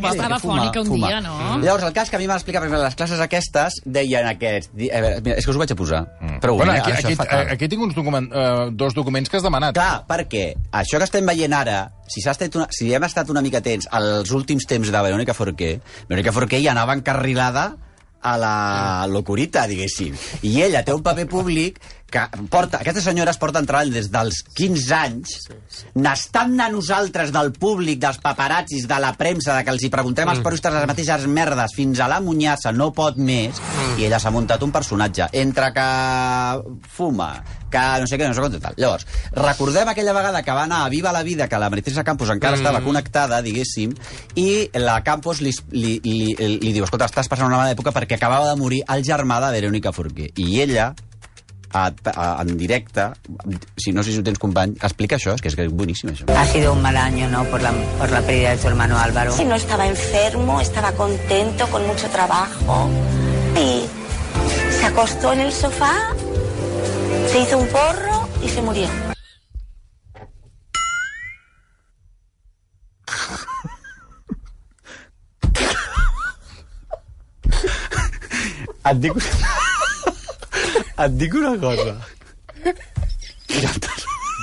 [SPEAKER 9] totalment.
[SPEAKER 3] Bueno, perquè estava
[SPEAKER 2] Fuma,
[SPEAKER 3] fònica un
[SPEAKER 2] fuma.
[SPEAKER 3] dia, no?
[SPEAKER 2] Llavors, el cas que a mi m'han explicat, per exemple, les classes aquestes, deien aquests... di- A veure, mira, és que us ho vaig a posar. Mm. Però
[SPEAKER 5] Bueno,
[SPEAKER 2] bueno,
[SPEAKER 5] aquí,
[SPEAKER 2] això
[SPEAKER 5] aquí,
[SPEAKER 2] és fatal.
[SPEAKER 5] aquí tinc uns document, eh, dos documents que has demanat.
[SPEAKER 2] Clar, perquè això que estem veient ara, si, s'ha estat una, si hem estat una mica atents als últims temps de Verónica Forqué, Verónica Forqué ja anava encarrilada a la locurita, diguéssim. I ella té un paper públic que porta... Aquestes senyores porten treball des dels 15 anys, n'estan de nosaltres, del públic, dels paparazzis, de la premsa, de que els hi preguntem als periodistes les mateixes merdes, fins a la munyassa, no pot més, i ella s'ha muntat un personatge. Entre que fuma, que no sé què, no sé com, tal. Llavors, recordem aquella vegada que va anar a Viva la Vida, que la Beatriz Campos encara mm. estava connectada, diguéssim, i la Campos li, li, li, li diu, escolta, estàs passant una mala època perquè acabava de morir el germà de Verónica Forqué. I ella, a, a, en directe, si no sé si ho tens company, explica això, és que és, que és boníssim, això.
[SPEAKER 10] Ha sido un mal año, ¿no? Por la, por la pérdida de tu hermano Álvaro.
[SPEAKER 7] Si no estaba enfermo, estaba contento, con mucho trabajo. Y se acostó en el sofá, se hizo un porro y se murió.
[SPEAKER 2] Et dic... et dic una cosa.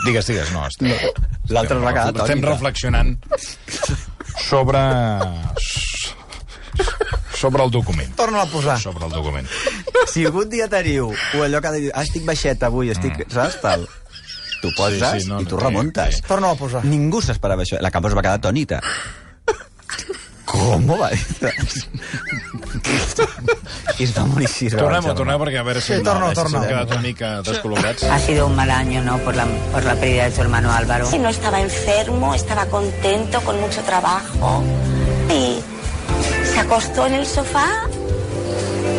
[SPEAKER 1] Digues, digues, no. Estem,
[SPEAKER 2] L'altre es va quedar
[SPEAKER 1] estem
[SPEAKER 2] atònita.
[SPEAKER 1] reflexionant sobre... sobre el document.
[SPEAKER 9] Torna a posar.
[SPEAKER 1] Sobre el document.
[SPEAKER 2] Si algun dia teniu o allò que ha de dir, ah, estic baixet avui, estic... Mm. Saps tal? Tu poses sí, sí, no, i tu
[SPEAKER 1] sí,
[SPEAKER 2] remuntes.
[SPEAKER 1] sí.
[SPEAKER 9] Torna a posar.
[SPEAKER 2] Ningú s'esperava això. La cambra es va quedar atònita. Com ho va dir? I es va morir així. es va
[SPEAKER 1] Tornem-ho,
[SPEAKER 2] marxar.
[SPEAKER 1] tornem perquè a veure si...
[SPEAKER 9] Sí, torna-ho,
[SPEAKER 1] si
[SPEAKER 9] torna-ho.
[SPEAKER 1] S'han quedat una mica descol·locats.
[SPEAKER 10] Ha sido un mal año, ¿no? Por la, por la pérdida de tu hermano Álvaro.
[SPEAKER 7] Si no estaba enfermo, estaba contento, con mucho trabajo. Y se acostó en el sofá,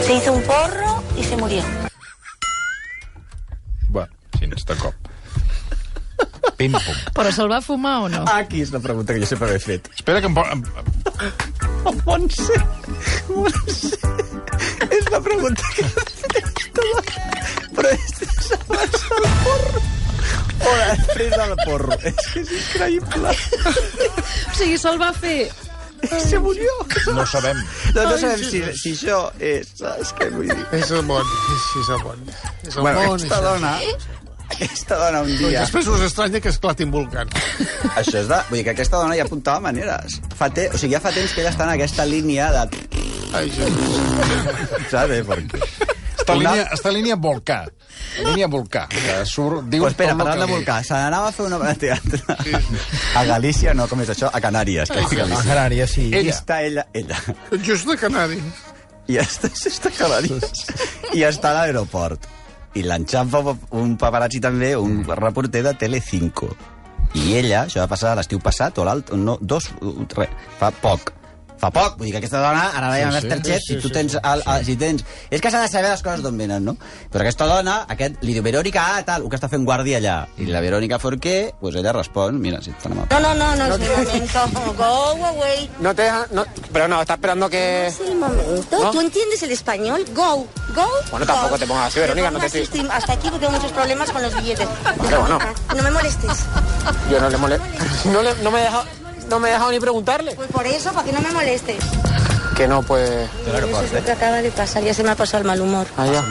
[SPEAKER 7] se hizo un porro y se murió.
[SPEAKER 1] Va, sí, de cop. Pim-pum.
[SPEAKER 3] Però se'l va fumar o no?
[SPEAKER 2] Aquí és la pregunta que jo sempre m'he fet.
[SPEAKER 1] Espera que em... po- em-
[SPEAKER 2] Oh, Montse, Montse, és la pregunta que has fet. Però és abans del porro. O després del porro. És que és increïble.
[SPEAKER 3] O sigui, se'l va fer...
[SPEAKER 2] Se murió.
[SPEAKER 1] No sabem.
[SPEAKER 2] No, no sabem si, si això és... Saps què vull dir?
[SPEAKER 4] És el món, és, és el món. És el
[SPEAKER 2] Bueno,
[SPEAKER 4] món,
[SPEAKER 2] aquesta
[SPEAKER 4] això.
[SPEAKER 2] dona... Aquesta dona un
[SPEAKER 4] I
[SPEAKER 2] dia...
[SPEAKER 4] després us estranya que esclatin volcans.
[SPEAKER 2] Això és de... Vull dir que aquesta dona ja apuntava maneres. Fa te... O sigui, ja fa temps que ella està en aquesta línia de...
[SPEAKER 4] Ai, jo.
[SPEAKER 2] Sabe per què?
[SPEAKER 1] Està a
[SPEAKER 2] Una-
[SPEAKER 1] línia, està a línia volcà. A línia volcà. Que Surt, diu
[SPEAKER 2] Pues espera,
[SPEAKER 1] tot el
[SPEAKER 2] parlant de
[SPEAKER 1] que
[SPEAKER 2] volcà, se n'anava a fer una obra de teatre. A Galícia, no, com és això? A Canàries. Que és
[SPEAKER 9] A
[SPEAKER 2] Galícia.
[SPEAKER 9] Canàries, sí.
[SPEAKER 2] I està ella, ella.
[SPEAKER 4] Just de Canari.
[SPEAKER 2] I està, està a Canàries. I està a l'aeroport. I l'enxampa un- un paparazzi també, un reporter de Telecinco. I ella, això va passar l'estiu passat, o l'alt, no, dos, u- tre, fa poc, fa poc. Vull dir que aquesta dona, ara la veiem a Masterchef, si tu tens... El, el, si tens... És que s'ha de saber les coses d'on venen, no? Però aquesta dona, aquest, li diu, Verònica, ah, tal, el que està fent guàrdia allà. I la Verònica Forqué, doncs ella respon, mira, si tan amable.
[SPEAKER 11] No, no, no, no es mi momento. Go away.
[SPEAKER 8] No te deja- no- pero no, está esperando que...
[SPEAKER 11] Es el momento.
[SPEAKER 8] ¿No?
[SPEAKER 11] ¿Tú entiendes el español? Go, go.
[SPEAKER 8] Bueno, tampoco te pongas así, Verónica, no te
[SPEAKER 11] pongas
[SPEAKER 8] estoy-
[SPEAKER 11] así, Hasta aquí porque tengo muchos problemas con los billetes. Ah,
[SPEAKER 8] Vale, bueno.
[SPEAKER 11] No me molestes.
[SPEAKER 8] Yo no le molesto. No, le- no me he dejado... No me he dejado ni preguntarle.
[SPEAKER 11] Pues por eso, para que no me molestes.
[SPEAKER 8] Que no, pues...
[SPEAKER 11] Eso es lo que acaba de pasar. Ya se me ha pasado el mal humor.
[SPEAKER 8] Ah, ya.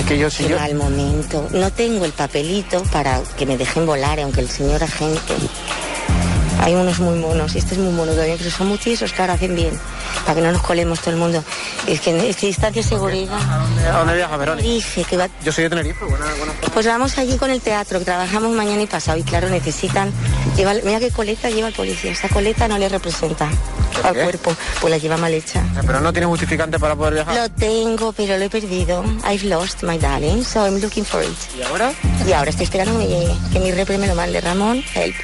[SPEAKER 8] Es que yo, si
[SPEAKER 11] Qué
[SPEAKER 8] yo...
[SPEAKER 11] mal momento. No tengo el papelito para que me dejen volar, aunque el señor agente. Hay unos muy monos, y este es muy mono también, pero son muy tiesos que ahora hacen bien, para que no nos colemos todo el mundo. Es que en esta distancia de seguridad.
[SPEAKER 8] ¿A dónde viaja, Verónica?
[SPEAKER 11] Dije que va-
[SPEAKER 8] Yo soy de Tenerife, buena, buena...
[SPEAKER 11] Pues vamos allí con el teatro, que trabajamos mañana y pasado, y claro, necesitan. Lleva, mira qué coleta lleva el policía, esa coleta no le representa al
[SPEAKER 8] qué?
[SPEAKER 11] cuerpo, pues la lleva mal hecha.
[SPEAKER 8] Pero no tiene justificante para poder viajar.
[SPEAKER 11] Lo tengo, pero lo he perdido. I've lost my darling, so I'm looking for it.
[SPEAKER 8] ¿Y ahora?
[SPEAKER 11] Y ahora estoy esperando que me llegue. Que mi repre me lo mande. Ramón, help.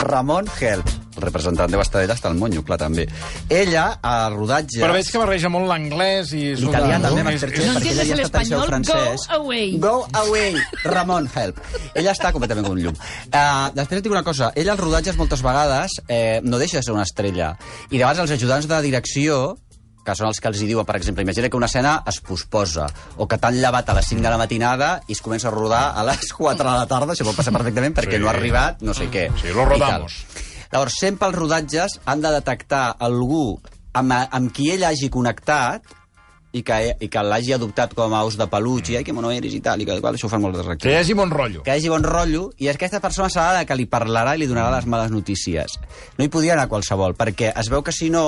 [SPEAKER 2] Ramon Help, el representant de Bastadella, està al monyo, clar, també. Ella, al rodatge...
[SPEAKER 5] Però veig que barreja molt l'anglès i...
[SPEAKER 2] L'italià
[SPEAKER 5] escolta,
[SPEAKER 2] també,
[SPEAKER 5] és-
[SPEAKER 2] Masterchef,
[SPEAKER 5] és-
[SPEAKER 3] No
[SPEAKER 2] perquè ella
[SPEAKER 3] entiendes
[SPEAKER 2] ja
[SPEAKER 3] el
[SPEAKER 2] està en seu
[SPEAKER 3] espanyol,
[SPEAKER 2] francès.
[SPEAKER 3] go away.
[SPEAKER 2] Go away, Ramon, help. Ella està completament com un llum. Uh, després et dic una cosa, ella als rodatges moltes vegades eh, no deixa de ser una estrella. I de vegades els ajudants de direcció que són els que els hi diuen, per exemple, imagina que una escena es posposa, o que t'han llevat a les 5 de la matinada i es comença a rodar a les 4 de la tarda, això pot passar perfectament perquè
[SPEAKER 6] Sí. Mm.
[SPEAKER 2] no ha arribat no sé què.
[SPEAKER 6] Sí, lo rodamos.
[SPEAKER 2] I tal. Llavors, sempre els rodatges han de detectar algú amb, amb qui ell hagi connectat i que, i que l'hagi adoptat com a aus de peluix, i ai, que mono eres i tal, i que, igual, això ho fan moltes
[SPEAKER 5] Que hi
[SPEAKER 2] actrius.
[SPEAKER 5] hagi bon rotllo.
[SPEAKER 2] Que hi hagi bon rotllo, i aquesta persona serà la que li parlarà i li donarà les males notícies. No hi podia anar qualsevol, perquè es veu que si no...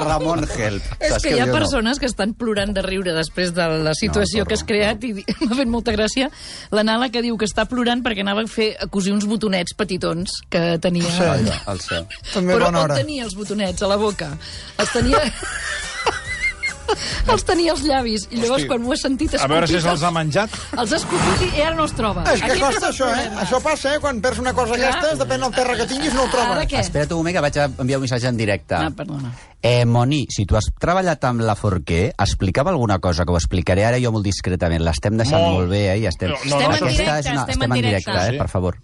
[SPEAKER 2] Ramon Help.
[SPEAKER 3] És
[SPEAKER 2] Saps
[SPEAKER 3] que
[SPEAKER 2] què
[SPEAKER 3] hi ha
[SPEAKER 2] diu, no?
[SPEAKER 3] persones que estan plorant de riure després de la situació
[SPEAKER 2] No,
[SPEAKER 3] que has creat i di- m'ha fet molta gràcia la Nala que diu que està plorant perquè anava a fer a cosir uns botonets petitons que tenia.
[SPEAKER 2] Ai, va, el seu.
[SPEAKER 9] També
[SPEAKER 3] Però
[SPEAKER 9] bona
[SPEAKER 3] on
[SPEAKER 9] hora.
[SPEAKER 3] tenia els botonets? A la boca. Els tenia... els tenia als llavis. I llavors,
[SPEAKER 1] Hosti.
[SPEAKER 3] quan m'ho he sentit
[SPEAKER 1] A veure si
[SPEAKER 3] escupit,
[SPEAKER 1] se'ls ha menjat.
[SPEAKER 3] els ha escupit i ara no els troba.
[SPEAKER 9] És que
[SPEAKER 3] Aquest és
[SPEAKER 9] costa
[SPEAKER 3] el
[SPEAKER 9] això, eh?
[SPEAKER 3] problema.
[SPEAKER 9] Això passa, eh? Quan perds una cosa
[SPEAKER 3] Clar.
[SPEAKER 9] d'aquestes, depèn del terra que tinguis, no ho
[SPEAKER 3] Ara
[SPEAKER 9] trobes.
[SPEAKER 3] què?
[SPEAKER 2] Espera't un moment que vaig a enviar un missatge en directe.
[SPEAKER 3] Ah, perdona.
[SPEAKER 2] Eh, Moni, si tu has treballat amb la Forqué, explicava alguna cosa que ho explicaré ara jo molt discretament. L'estem deixant molt,
[SPEAKER 1] Molt.
[SPEAKER 2] bé, eh? I estem...
[SPEAKER 1] No, no, Estem no, en
[SPEAKER 2] Aquesta
[SPEAKER 1] directe,
[SPEAKER 2] és una-
[SPEAKER 3] estem
[SPEAKER 2] estem
[SPEAKER 3] en
[SPEAKER 2] en
[SPEAKER 3] directe.
[SPEAKER 2] directe, eh?
[SPEAKER 1] Sí.
[SPEAKER 2] Per favor.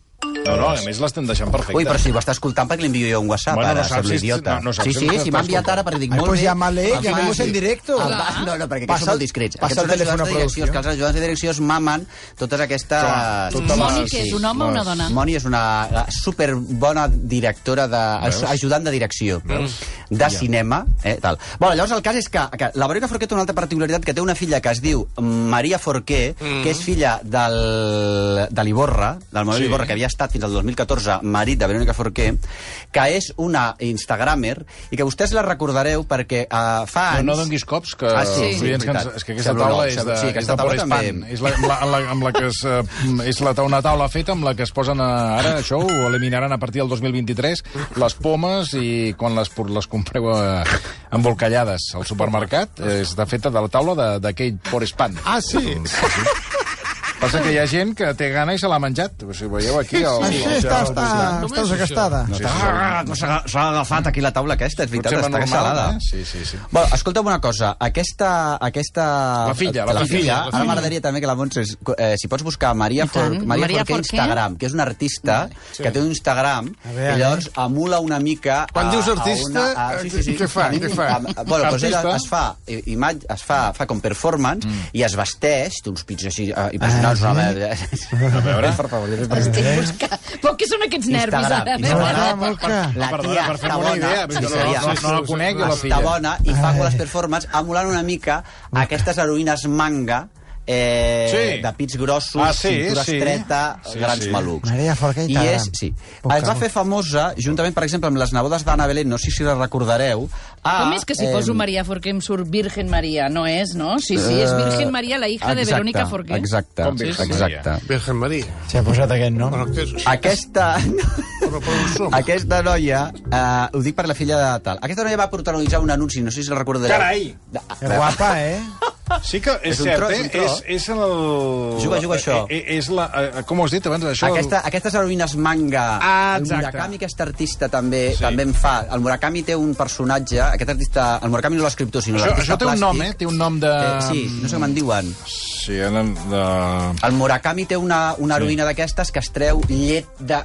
[SPEAKER 1] No, no, a més l'estem deixant perfecte.
[SPEAKER 2] Ui, però si ho està escoltant, perquè li envio jo un WhatsApp,
[SPEAKER 1] Bueno, no
[SPEAKER 2] ara,
[SPEAKER 1] saps
[SPEAKER 2] sembla
[SPEAKER 1] si-
[SPEAKER 2] idiota.
[SPEAKER 1] no, no saps
[SPEAKER 2] sí,
[SPEAKER 1] si
[SPEAKER 2] sí,
[SPEAKER 1] ens
[SPEAKER 2] si
[SPEAKER 1] està
[SPEAKER 2] m'ha enviat
[SPEAKER 1] escoltant.
[SPEAKER 2] ara, perquè dic
[SPEAKER 9] Ai,
[SPEAKER 2] molt
[SPEAKER 9] pues
[SPEAKER 2] bé.
[SPEAKER 9] llámale,
[SPEAKER 2] Em fa-
[SPEAKER 9] llamemos en directo.
[SPEAKER 2] Em Ah, va- No, no, perquè aquests
[SPEAKER 9] Passa-
[SPEAKER 2] són molt discrets.
[SPEAKER 9] passa
[SPEAKER 2] Aquests
[SPEAKER 9] el
[SPEAKER 2] són
[SPEAKER 9] telèfon a
[SPEAKER 2] ajudants de direcció,
[SPEAKER 9] producció.
[SPEAKER 2] els que els ajudants de direcció es mamen totes aquestes...
[SPEAKER 1] tota la-
[SPEAKER 3] Moni, que és un home o una dona?
[SPEAKER 2] Moni és una super bona directora de... ajudant de direcció de cinema, eh, tal. Bueno, llavors el cas és que, que la Verónica Forqué té una altra particularitat que té una filla que es diu Maria Forqué,
[SPEAKER 9] Mm.
[SPEAKER 2] que és filla del, de l'Iborra, del Manuel
[SPEAKER 1] Sí.
[SPEAKER 2] Iborra, que havia estat fins al 2014 marit de Verónica Forqué, que és una instagramer i que vostès la recordareu perquè uh, fa anys...
[SPEAKER 5] No, no donguis cops, que
[SPEAKER 2] Ah,
[SPEAKER 5] ah,
[SPEAKER 2] sí,
[SPEAKER 5] sí, els
[SPEAKER 2] sí,
[SPEAKER 5] oients que ens,
[SPEAKER 2] veritat.
[SPEAKER 5] és que aquesta
[SPEAKER 2] Sembla
[SPEAKER 5] taula
[SPEAKER 2] nou,
[SPEAKER 5] és
[SPEAKER 2] sembla-
[SPEAKER 5] de,
[SPEAKER 2] sí, aquesta
[SPEAKER 5] és de
[SPEAKER 2] taula
[SPEAKER 5] Boris
[SPEAKER 2] també.
[SPEAKER 5] Pan. És la, la, la, amb la que es, eh, és la, ta- una taula feta amb la que es posen a, ara, això ho eliminaran a partir del 2023, les pomes i quan les, por- les compreu eh, embolcallades al supermercat, eh, està feta de la taula de- d'aquell Boris Pan.
[SPEAKER 4] Ah, sí?
[SPEAKER 5] Passa que hi ha gent que té gana i se l'ha menjat. Si veieu aquí... El, el,
[SPEAKER 9] Això està, està, està desgastada.
[SPEAKER 5] Sí, sí.
[SPEAKER 2] Ah, com s'ha s'ha agafat aquí la taula aquesta, és veritat,
[SPEAKER 5] Potser
[SPEAKER 2] està
[SPEAKER 5] normal,
[SPEAKER 2] salada.
[SPEAKER 5] eh? Sí, sí, sí.
[SPEAKER 2] Bueno, escolta'm una cosa, aquesta... aquesta
[SPEAKER 5] La filla, la filla, la
[SPEAKER 2] Ara
[SPEAKER 5] filla.
[SPEAKER 2] m'agradaria també que la Montse... Eh, si pots buscar Maria,
[SPEAKER 3] I tant.
[SPEAKER 2] Forc, Maria,
[SPEAKER 3] Maria
[SPEAKER 2] Forqué,
[SPEAKER 3] Forqué.
[SPEAKER 2] Instagram, que és una artista
[SPEAKER 5] Mm.
[SPEAKER 2] sí. que té un Instagram,
[SPEAKER 9] veure, eh?
[SPEAKER 2] i llavors emula una mica...
[SPEAKER 4] Quan
[SPEAKER 2] a-
[SPEAKER 4] dius
[SPEAKER 2] a
[SPEAKER 4] artista,
[SPEAKER 2] una- a-
[SPEAKER 5] eh,
[SPEAKER 2] sí, sí, sí.
[SPEAKER 4] què fa?
[SPEAKER 2] A mi-
[SPEAKER 4] Què fa?
[SPEAKER 2] a- a- Bueno, doncs ella
[SPEAKER 5] Artista? Mm.
[SPEAKER 2] es fa, i- imatge, es fa, fa com performance i es vesteix, té uns pits així eh,
[SPEAKER 9] Ah,
[SPEAKER 2] i personals, una merda. A veure... Per favor, jo t'he
[SPEAKER 3] Estic buscant... Però què són aquests nervis?
[SPEAKER 2] eh?
[SPEAKER 3] Ara?
[SPEAKER 9] Instagram,
[SPEAKER 2] La
[SPEAKER 5] Per,
[SPEAKER 2] tia
[SPEAKER 5] per fer
[SPEAKER 2] està
[SPEAKER 5] una
[SPEAKER 2] bona.
[SPEAKER 5] idea,
[SPEAKER 2] Sí,
[SPEAKER 5] no, no,
[SPEAKER 2] seria.
[SPEAKER 5] no, no la conec, jo la
[SPEAKER 2] està
[SPEAKER 5] filla.
[SPEAKER 2] bona i fa les performances emulant una mica aquestes heroïnes manga Eh,
[SPEAKER 1] Sí.
[SPEAKER 2] de pits grossos,
[SPEAKER 1] Ah, sí,
[SPEAKER 2] cintura
[SPEAKER 1] sí.
[SPEAKER 2] estreta,
[SPEAKER 1] Sí,
[SPEAKER 2] grans
[SPEAKER 1] sí.
[SPEAKER 2] malucs.
[SPEAKER 9] Maria Forqué i
[SPEAKER 2] I
[SPEAKER 9] Taran.
[SPEAKER 2] és, sí.
[SPEAKER 9] Poca
[SPEAKER 2] es va
[SPEAKER 9] bo.
[SPEAKER 2] fer famosa, juntament, per exemple, amb les nebodes d'Anna Belén, no sé si la recordareu. A,
[SPEAKER 3] Com és que si poso Maria Forqué em surt Virgen Maria? No és, no? Sí, sí, és Virgen Maria, la hija de
[SPEAKER 2] eh, exacte,
[SPEAKER 3] Verónica Forqué.
[SPEAKER 2] Exacte,
[SPEAKER 1] Com Virgen
[SPEAKER 2] exacte.
[SPEAKER 4] Virgen María.
[SPEAKER 9] S'ha posat aquest nom.
[SPEAKER 4] Bueno, què és això?
[SPEAKER 2] Aquesta...
[SPEAKER 4] Però, però on som?
[SPEAKER 2] Aquesta noia, eh, ho dic per la filla de tal, aquesta noia va protagonitzar un anunci, no sé si el recordareu.
[SPEAKER 1] Carai!
[SPEAKER 2] De-
[SPEAKER 9] És guapa, eh?
[SPEAKER 1] Sí que és,
[SPEAKER 2] És un
[SPEAKER 1] cert,
[SPEAKER 2] tro,
[SPEAKER 1] eh?
[SPEAKER 2] és un tro.
[SPEAKER 1] És, és el...
[SPEAKER 2] Juga, juga, això.
[SPEAKER 1] Eh, eh, És la... eh, Com ho has dit abans? Això...
[SPEAKER 2] Aquesta, aquestes heroïnes manga,
[SPEAKER 1] Ah,
[SPEAKER 2] el
[SPEAKER 1] exacte.
[SPEAKER 2] Murakami, aquest artista, també sí. també en fa. El Murakami té un personatge, aquest artista, el Murakami no l'escriptor, sinó
[SPEAKER 5] Això,
[SPEAKER 2] l'artista
[SPEAKER 5] això té un nom, eh?
[SPEAKER 2] plàstic.
[SPEAKER 5] Té un nom de...
[SPEAKER 2] Eh, sí, no sé com en diuen.
[SPEAKER 5] Sí,
[SPEAKER 1] eh,
[SPEAKER 5] en, de...
[SPEAKER 2] El Murakami té una, una
[SPEAKER 5] Sí.
[SPEAKER 2] heroïna d'aquestes que es treu llet de,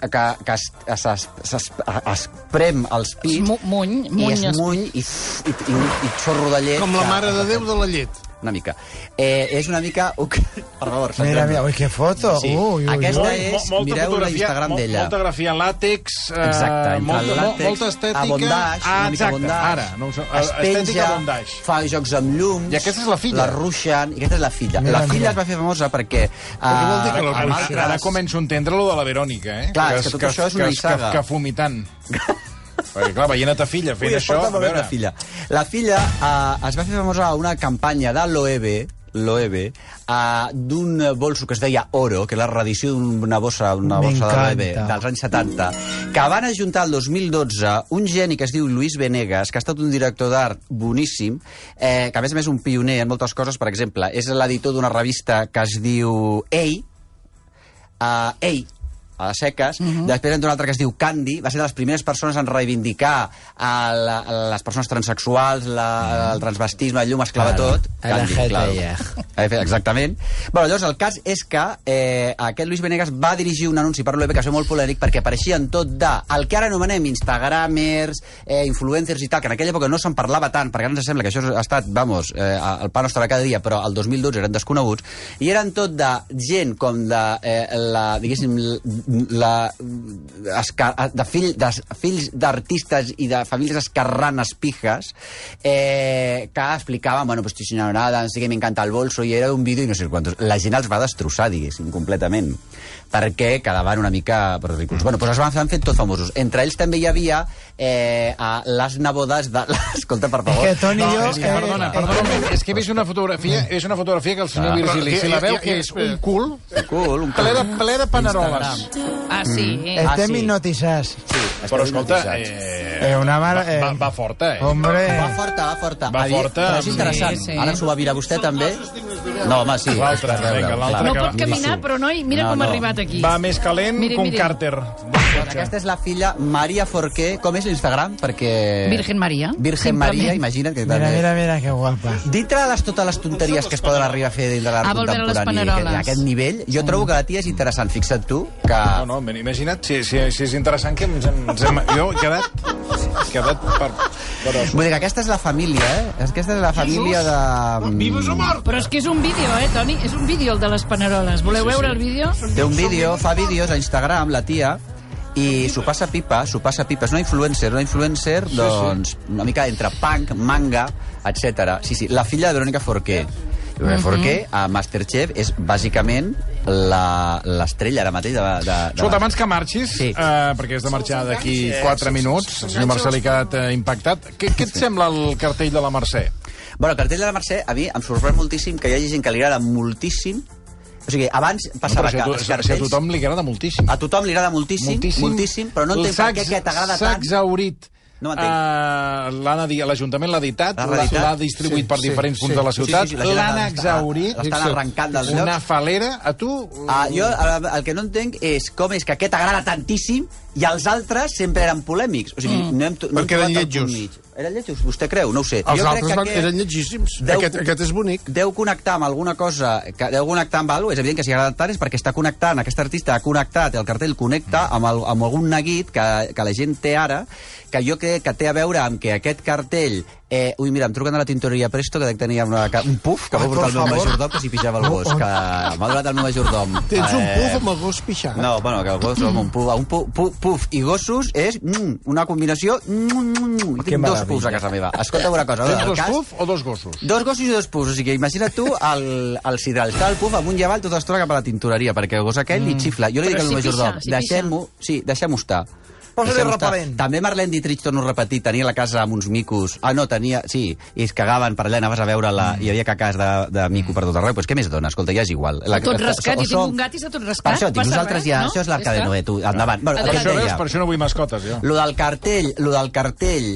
[SPEAKER 2] que, que es, es, es, es, es prem als pits
[SPEAKER 3] Muny,
[SPEAKER 2] i
[SPEAKER 3] muny.
[SPEAKER 2] es muny i, f- i, i, un- i xorro de llet.
[SPEAKER 4] Com la
[SPEAKER 2] que-
[SPEAKER 4] mare de Déu de la llet.
[SPEAKER 2] Una mica. Eh, és una mica... uc, Per favor,
[SPEAKER 9] Mira,
[SPEAKER 2] centrem-nos.
[SPEAKER 9] mira, ui, que foto.
[SPEAKER 2] Sí.
[SPEAKER 9] Ui, ui, ui.
[SPEAKER 2] Aquesta
[SPEAKER 1] Molt-
[SPEAKER 2] és...
[SPEAKER 1] mo- molta
[SPEAKER 2] mireu
[SPEAKER 1] fotografia,
[SPEAKER 2] l'Instagram
[SPEAKER 1] mo-
[SPEAKER 2] d'ella.
[SPEAKER 1] Molta grafia en làtex, eh,
[SPEAKER 2] Exacte, entre
[SPEAKER 1] molta,
[SPEAKER 2] el
[SPEAKER 1] mo-
[SPEAKER 2] làtex,
[SPEAKER 1] molta estètica...
[SPEAKER 2] a bondage,
[SPEAKER 1] ah,
[SPEAKER 2] una mica
[SPEAKER 1] exacte,
[SPEAKER 2] bondage.
[SPEAKER 1] ara. No, ho sé, eh,
[SPEAKER 2] es
[SPEAKER 1] estètica
[SPEAKER 2] penja,
[SPEAKER 1] bondage.
[SPEAKER 2] fa jocs amb llums...
[SPEAKER 1] I aquesta és la filla.
[SPEAKER 2] La ruixen, i aquesta és la filla.
[SPEAKER 9] Mira,
[SPEAKER 2] la filla
[SPEAKER 9] mira.
[SPEAKER 2] es va fer famosa perquè... eh,
[SPEAKER 4] Perquè vol dir que la
[SPEAKER 2] a
[SPEAKER 4] ruixen.
[SPEAKER 2] Malgras-
[SPEAKER 5] Ara, ara començo a entendre lo de la Verònica, eh?
[SPEAKER 2] Clar, és que tot això és una
[SPEAKER 5] que, que,
[SPEAKER 2] nissaga.
[SPEAKER 5] que fumitant. Perquè, clar, veient a ta filla fent
[SPEAKER 2] Ui,
[SPEAKER 5] això...
[SPEAKER 2] escolta'm, a veure, la filla. La filla eh, es va fer famosa a una campanya de E l'OEB, l'OEB, eh, d'un bolso que es deia Oro, que és la reedició d'una bossa, una bossa de l'OEB
[SPEAKER 9] M'encanta.
[SPEAKER 2] dels anys 70, que van ajuntar el 2012 un geni que es diu Luis Venegas, que ha estat un director d'art boníssim, eh, que a més a més és un pioner en moltes coses, per exemple, és l'editor d'una revista que es diu Ei, a Ei, a les seques, uh -huh. després entra una altra que es diu Candy, va ser de les primeres persones en reivindicar a la, a les persones transexuals, la, el transvestisme, el llum esclava
[SPEAKER 9] Claro.
[SPEAKER 2] tot.
[SPEAKER 9] A la gente, yeah.
[SPEAKER 2] Eh, fe- Exactament. Bueno, llavors, el cas és que eh, aquest Luis Venegas va dirigir un anunci per l'OEB que va ser molt polèmic perquè apareixien tot de el que ara anomenem instagramers, eh, influencers i tal, que en aquella època no se'n parlava tant, perquè ara ens sembla que això ha estat, vamos, eh, el pa nostre de cada dia, però el 2012 eren desconeguts, i eren tot de gent com de, eh, la, diguéssim, la, esca- de, fill, de fills d'artistes i de famílies escarranes pijes, eh, que explicaven, bueno, pues estoy sin nada, sí que me encanta el bolso, i era un vídeo i no sé quantos. La gent els va destrossar, diguéssim, completament, perquè quedaven una mica ridículs. Bueno, doncs es van, han fet tots famosos. Entre ells també hi havia eh, a les nebodes de... Escolta, per favor.
[SPEAKER 9] Que Toni i jo...
[SPEAKER 5] És que, perdona, perdona, un moment, és que he vist una fotografia, és una fotografia eh, que el senyor
[SPEAKER 2] Clar.
[SPEAKER 5] Virgili, si la veu, que és un cul
[SPEAKER 2] Cool, un
[SPEAKER 5] ple de, ple de paneroles.
[SPEAKER 2] Instagram.
[SPEAKER 3] Ah, sí. Eh?
[SPEAKER 2] Ah,
[SPEAKER 9] Estem
[SPEAKER 2] sí.
[SPEAKER 9] hipnotitzats.
[SPEAKER 5] Però escolta,
[SPEAKER 2] hipnotitzats.
[SPEAKER 5] eh,
[SPEAKER 9] Eh, una mare...
[SPEAKER 5] va, va, va forta, eh?
[SPEAKER 9] Hombre...
[SPEAKER 2] Va forta, va forta.
[SPEAKER 5] Va
[SPEAKER 2] Aviam,
[SPEAKER 5] forta,
[SPEAKER 2] Però és interessant.
[SPEAKER 3] sí,
[SPEAKER 2] Sí,
[SPEAKER 3] sí.
[SPEAKER 2] sí. Ara s'ho va virar vostè, també? No, home, sí.
[SPEAKER 5] L'altre, vinga, l'altre
[SPEAKER 3] No
[SPEAKER 5] que va.
[SPEAKER 3] pot caminar, però, noi, mira
[SPEAKER 2] No,
[SPEAKER 3] com ha
[SPEAKER 2] no.
[SPEAKER 3] arribat aquí.
[SPEAKER 1] Va més calent
[SPEAKER 3] Miri,
[SPEAKER 1] que un
[SPEAKER 3] miri.
[SPEAKER 1] càrter.
[SPEAKER 2] Doncs aquesta és la filla Maria Forqué. Com és l'Instagram? Perquè...
[SPEAKER 3] Virgen Maria.
[SPEAKER 2] Virgen
[SPEAKER 3] Simplement.
[SPEAKER 2] Maria, imagina't que
[SPEAKER 9] Mira,
[SPEAKER 2] també...
[SPEAKER 9] mira, mira, que guapa.
[SPEAKER 2] Dintre de les, totes les tonteries que es poden arribar a fer dintre de l'art
[SPEAKER 3] Ah, vol veure les
[SPEAKER 2] contemporani
[SPEAKER 3] paneroles.
[SPEAKER 2] aquest, aquest nivell, jo trobo que la tia és interessant. Fixa't tu que...
[SPEAKER 5] Ah, No, no, m'he imagina't, si, si, si és interessant que ens, hem- ens hem... Jo he quedat, quedat per... per
[SPEAKER 2] Vull dir que aquesta és la família, eh? Aquesta és la família de...
[SPEAKER 4] Vives o mort?
[SPEAKER 3] Però és que és un vídeo, eh, Toni? És un vídeo, el de les paneroles. Voleu veure el vídeo?
[SPEAKER 2] Té un vídeo, fa vídeos a Instagram, la tia, i s'ho passa pipa, s'ho passa pipa. És una influencer, una influencer, doncs, una mica entre punk, manga, etc. Sí, sí, la filla de Verónica Forqué. Verónica
[SPEAKER 5] Mhm.
[SPEAKER 2] Forqué, a Masterchef, és bàsicament la- l'estrella ara mateix de... de, de
[SPEAKER 5] Escolta, abans que marxis, sí.
[SPEAKER 2] Sí.
[SPEAKER 6] Ah,
[SPEAKER 5] uh, perquè has de marxar d'aquí 4 minuts, el senyor Marcel ha quedat eh, impactat, què, què et sembla el cartell de la Mercè?
[SPEAKER 2] Bueno, el cartell de la Mercè, a mi em sorprèn moltíssim que hi hagi gent que li agrada moltíssim. O sigui, abans
[SPEAKER 5] No,
[SPEAKER 2] passava
[SPEAKER 5] però si a,
[SPEAKER 2] que
[SPEAKER 5] tu,
[SPEAKER 2] els
[SPEAKER 5] si a- si a
[SPEAKER 2] cartells...
[SPEAKER 5] tothom li agrada moltíssim.
[SPEAKER 2] A tothom li agrada moltíssim, moltíssim, moltíssim però no
[SPEAKER 5] El
[SPEAKER 2] entenc per
[SPEAKER 5] sacs-
[SPEAKER 2] què que t'agrada tant.
[SPEAKER 5] Sacs aurit. No
[SPEAKER 2] No m'entenc.
[SPEAKER 5] uh, L'Ajuntament l'ha editat,
[SPEAKER 2] L'ha
[SPEAKER 5] l'ha
[SPEAKER 2] reeditat?
[SPEAKER 5] l'ha distribuit sí, per
[SPEAKER 9] sí,
[SPEAKER 5] diferents
[SPEAKER 9] sí.
[SPEAKER 5] punts de la ciutat,
[SPEAKER 2] Sí, sí,
[SPEAKER 5] sí,
[SPEAKER 2] sí, la gent
[SPEAKER 5] l'han
[SPEAKER 2] l'està-
[SPEAKER 5] exaurit.
[SPEAKER 2] l'estan arrencant dels
[SPEAKER 5] Una
[SPEAKER 2] llocs.
[SPEAKER 5] falera. A tu...
[SPEAKER 2] Ah, jo el, el que no entenc és com és que aquest agrada tantíssim i els altres sempre eren polèmics. O sigui, mm. no hem, to- no hem
[SPEAKER 4] Perquè eren
[SPEAKER 2] trobat el punt
[SPEAKER 4] lletjos.
[SPEAKER 2] mig. Eren lletjos, vostè creu? No ho sé.
[SPEAKER 4] Els altres van,
[SPEAKER 2] aquest
[SPEAKER 4] eren llegíssims.
[SPEAKER 2] Deu-
[SPEAKER 4] Aquest, aquest és bonic.
[SPEAKER 2] deu connectar amb alguna cosa, que deu connectar amb alguna cosa, és evident que si agrada tant és perquè està connectant, aquest artista ha connectat, el cartell connecta
[SPEAKER 4] Mm.
[SPEAKER 2] amb, el, amb algun neguit que, que la gent té ara, que jo crec que té a veure amb que aquest cartell... Eh, ui, mira, em truquen de la tintoreria Presto, que tenia una, ca- un puf que va
[SPEAKER 9] Ai,
[SPEAKER 2] portar el
[SPEAKER 9] por
[SPEAKER 2] meu
[SPEAKER 9] favor.
[SPEAKER 2] majordom, que s'hi pixava el gos, que m'ha donat el meu majordom.
[SPEAKER 4] Tens un
[SPEAKER 2] Eh,
[SPEAKER 4] puf amb el gos pixat.
[SPEAKER 2] no, bueno, que el gos som un puf, un puf, puf, puf i gossos és mm, una combinació... Mm, mm, mm. I
[SPEAKER 9] Que
[SPEAKER 2] Tinc dos
[SPEAKER 9] meravella.
[SPEAKER 2] pufs a casa meva. Escolta una cosa,
[SPEAKER 5] Tens
[SPEAKER 2] el
[SPEAKER 5] dos
[SPEAKER 2] cas-
[SPEAKER 5] puf o dos gossos?
[SPEAKER 2] Dos gossos i dos pus, o sigui, imagina't tu el, el sidral. Està el puf amunt i avall
[SPEAKER 1] Mm.
[SPEAKER 2] tota l'estona cap a la tintoreria, perquè el gos aquell li xifla. Jo li
[SPEAKER 3] Però
[SPEAKER 2] dic al
[SPEAKER 3] si
[SPEAKER 2] meu
[SPEAKER 3] pixa,
[SPEAKER 2] majordom,
[SPEAKER 3] si
[SPEAKER 2] deixem-ho, sí, deixem-ho estar.
[SPEAKER 6] Posa-li
[SPEAKER 2] Deixem-ho estar.
[SPEAKER 6] repel·lent.
[SPEAKER 2] També Marlene Dietrich, torno a repetir, tenia la casa amb uns micos... Ah, no, tenia... Sí, i es cagaven per allà, anaves a veure la...
[SPEAKER 1] Mm.
[SPEAKER 2] Hi havia cacàs de, de mico per tot arreu. Però és que més dona, escolta, ja és igual. La,
[SPEAKER 3] Tot rascat,
[SPEAKER 2] o
[SPEAKER 3] jo tinc
[SPEAKER 2] som-
[SPEAKER 3] un gat i està tot
[SPEAKER 2] Per
[SPEAKER 3] rascat.
[SPEAKER 2] això, dic,
[SPEAKER 3] passa
[SPEAKER 2] nosaltres
[SPEAKER 3] res,
[SPEAKER 2] ja...
[SPEAKER 3] no?
[SPEAKER 2] Això és l'arca de
[SPEAKER 3] està.
[SPEAKER 2] Noé, tu, endavant. Bueno,
[SPEAKER 3] Adelante.
[SPEAKER 2] aquest
[SPEAKER 1] Això veus,
[SPEAKER 2] deia-
[SPEAKER 1] per això no vull mascotes, jo.
[SPEAKER 2] Lo del cartell, lo del cartell,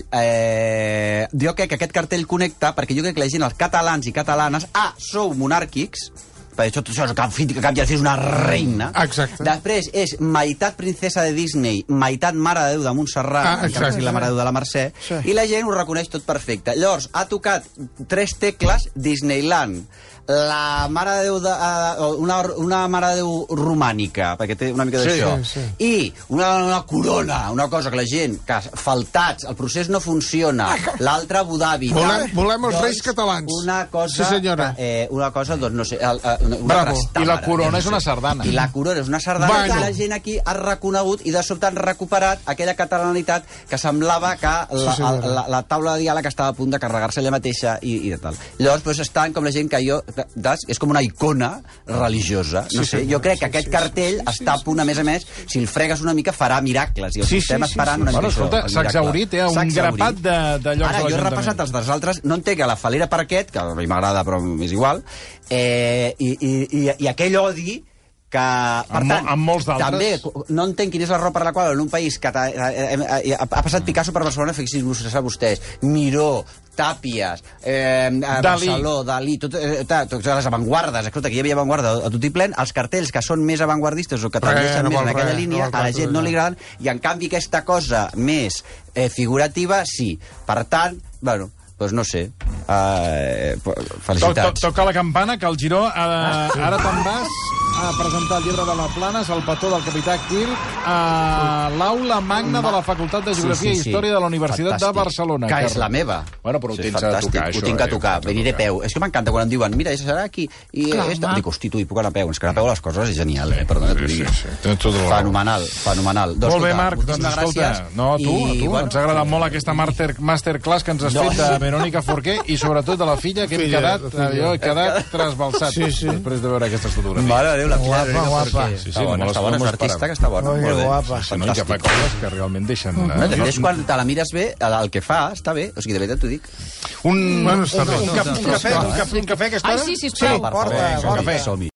[SPEAKER 2] eh, jo crec que aquest cartell connecta perquè jo crec que la gent, els catalans i catalanes, ah, sou monàrquics, per això, això és cap fill, que cap i al fill és una reina.
[SPEAKER 4] Exacte.
[SPEAKER 2] Després és meitat princesa de Disney, meitat mare de Déu de Montserrat,
[SPEAKER 4] Ah,
[SPEAKER 2] encara que sigui la mare de Déu de la Mercè,
[SPEAKER 4] Sí.
[SPEAKER 2] i la gent ho reconeix tot perfecte. Llavors, ha tocat tres tecles Disneyland, la mare de Déu de, eh, una, una mare de Déu romànica, perquè té una mica
[SPEAKER 4] Sí,
[SPEAKER 2] d'això,
[SPEAKER 4] sí,
[SPEAKER 2] i una, una corona, una cosa que la gent, que faltats, el procés no funciona, l'altre Abu Dhabi...
[SPEAKER 4] Volem- volem els
[SPEAKER 2] Doncs,
[SPEAKER 4] reis catalans.
[SPEAKER 2] Una cosa...
[SPEAKER 4] Sí, senyora.
[SPEAKER 2] Eh, una cosa, doncs, no sé... El, eh, una una
[SPEAKER 1] Bravo.
[SPEAKER 2] trastàmara,
[SPEAKER 1] I la corona
[SPEAKER 2] no
[SPEAKER 1] és una
[SPEAKER 2] sé.
[SPEAKER 1] sardana.
[SPEAKER 2] I la corona és una sardana
[SPEAKER 4] Bueno.
[SPEAKER 2] que la gent aquí ha reconegut i de sobte han recuperat aquella catalanitat que semblava que la,
[SPEAKER 4] Sí,
[SPEAKER 2] la,
[SPEAKER 4] senyora.
[SPEAKER 2] la, la taula de diàleg estava a punt de carregar-se ella mateixa i, i de tal. Llavors, doncs, estan com la gent que jo... Das, és com una icona religiosa. No
[SPEAKER 4] Sí,
[SPEAKER 2] sé,
[SPEAKER 4] senyora.
[SPEAKER 2] jo crec que aquest cartell està a punt, a més a més, si el fregues una mica farà miracles. I els
[SPEAKER 1] Sí, sí,
[SPEAKER 2] estem
[SPEAKER 1] sí,
[SPEAKER 2] esperant
[SPEAKER 1] sí.
[SPEAKER 2] una
[SPEAKER 1] Bueno,
[SPEAKER 2] mica
[SPEAKER 1] escolta,
[SPEAKER 2] això, el
[SPEAKER 1] s'ha
[SPEAKER 2] miracle.
[SPEAKER 1] exhaurit, eh, un
[SPEAKER 2] S'ha exhaurit.
[SPEAKER 1] grapat de- de llocs de
[SPEAKER 2] Ara, jo he
[SPEAKER 1] l'Ajuntament.
[SPEAKER 2] repassat els dels altres, no entenc que la falera per aquest, que a mi m'agrada però és igual, eh, i, i, i, i aquell odi que, per
[SPEAKER 1] Amb mo-
[SPEAKER 2] tant,
[SPEAKER 1] amb molts d'altres.
[SPEAKER 2] també cu- no entenc quina és la raó per la qual en un país que ta- eh, eh, eh, ha ha passat Picasso per Barcelona, fixin-vos a vostès, Miró, Tàpies, eh, a
[SPEAKER 1] Dalí.
[SPEAKER 2] Barceló, Dalí, tot, eh, ta- totes les avantguardes, escolta, que hi havia avantguarda a tot i plen, els cartells que són més avantguardistes o que
[SPEAKER 4] Res,
[SPEAKER 2] tendeixen
[SPEAKER 4] no
[SPEAKER 2] més en
[SPEAKER 4] vol
[SPEAKER 2] aquella
[SPEAKER 4] res, no
[SPEAKER 2] línia,
[SPEAKER 4] vol
[SPEAKER 2] a la
[SPEAKER 4] res,
[SPEAKER 2] gent no li
[SPEAKER 4] no.
[SPEAKER 2] agraden, i en canvi aquesta cosa més eh, figurativa, sí. Per tant, bueno, doncs no sé. Eh, po-
[SPEAKER 1] To, to,
[SPEAKER 2] felicitats.
[SPEAKER 1] toca la campana, que el Giró ara, ara te'n vas a presentar el llibre de la Planes, el petó del capità Kirk, a l'aula magna de la Facultat de Geografia i Història de la Universitat de Barcelona.
[SPEAKER 2] Que és
[SPEAKER 1] Carles.
[SPEAKER 2] la meva.
[SPEAKER 1] Bueno, però ho
[SPEAKER 2] Sí,
[SPEAKER 1] tens a
[SPEAKER 2] fantàstic.
[SPEAKER 1] tocar, això.
[SPEAKER 2] Ho tinc a
[SPEAKER 1] eh,
[SPEAKER 2] tocar,
[SPEAKER 1] ho tens a
[SPEAKER 2] veniré a
[SPEAKER 1] tocar.
[SPEAKER 2] peu. És que m'encanta quan em diuen, mira, això serà aquí, i
[SPEAKER 3] Clar,
[SPEAKER 2] esta...
[SPEAKER 3] home.
[SPEAKER 2] Dic, hosti, tu, hi puc anar a peu. És que anar a peu les coses és genial, eh? Perdona, que t'ho
[SPEAKER 1] Sí,
[SPEAKER 2] digui.
[SPEAKER 1] sí, sí. Tens tota la raó.
[SPEAKER 2] Fenomenal, fenomenal.
[SPEAKER 1] Molt bé,
[SPEAKER 2] escolta,
[SPEAKER 1] Marc, doncs
[SPEAKER 2] moltíssimes
[SPEAKER 1] escolta,
[SPEAKER 2] gràcies.
[SPEAKER 1] no, a tu, a
[SPEAKER 2] I,
[SPEAKER 1] tu,
[SPEAKER 2] bueno,
[SPEAKER 1] ens ha agradat molt aquesta master, masterclass que ens has
[SPEAKER 2] No.
[SPEAKER 1] fet de Verónica Forqué i sobretot de la filla, que hem
[SPEAKER 12] Filla,
[SPEAKER 1] quedat,
[SPEAKER 12] filla.
[SPEAKER 1] jo he quedat trasbalsat
[SPEAKER 12] Sí, sí.
[SPEAKER 1] després de veure aquestes fotografies.
[SPEAKER 2] Mare de Déu, la
[SPEAKER 6] Guapa,
[SPEAKER 2] Pilar,
[SPEAKER 6] guapa.
[SPEAKER 2] perquè-
[SPEAKER 1] Sí, sí,
[SPEAKER 2] està
[SPEAKER 1] no me
[SPEAKER 2] bona,
[SPEAKER 1] les-
[SPEAKER 2] està
[SPEAKER 1] no me
[SPEAKER 2] bona, és
[SPEAKER 1] les
[SPEAKER 2] artista
[SPEAKER 1] parava.
[SPEAKER 2] que està bona.
[SPEAKER 6] Ai, que
[SPEAKER 2] molt bé.
[SPEAKER 6] guapa.
[SPEAKER 1] Sí, no, i que fa
[SPEAKER 2] Fantàstic.
[SPEAKER 1] coses que realment deixen... eh?
[SPEAKER 2] No, de fet,
[SPEAKER 1] Jo-
[SPEAKER 2] és quan te la mires bé, el, el que fa està bé. O sigui, de veritat t'ho dic.
[SPEAKER 1] Un,
[SPEAKER 4] Bueno,
[SPEAKER 1] un,
[SPEAKER 4] està
[SPEAKER 1] un,
[SPEAKER 4] bé.
[SPEAKER 1] un, cap- un cafè, un cafè, un cafè, que es
[SPEAKER 3] Ai,
[SPEAKER 1] posa?
[SPEAKER 3] sí, sisplau.
[SPEAKER 2] Porta,
[SPEAKER 1] vinga,
[SPEAKER 2] porta.
[SPEAKER 1] cafè.
[SPEAKER 2] Som-hi.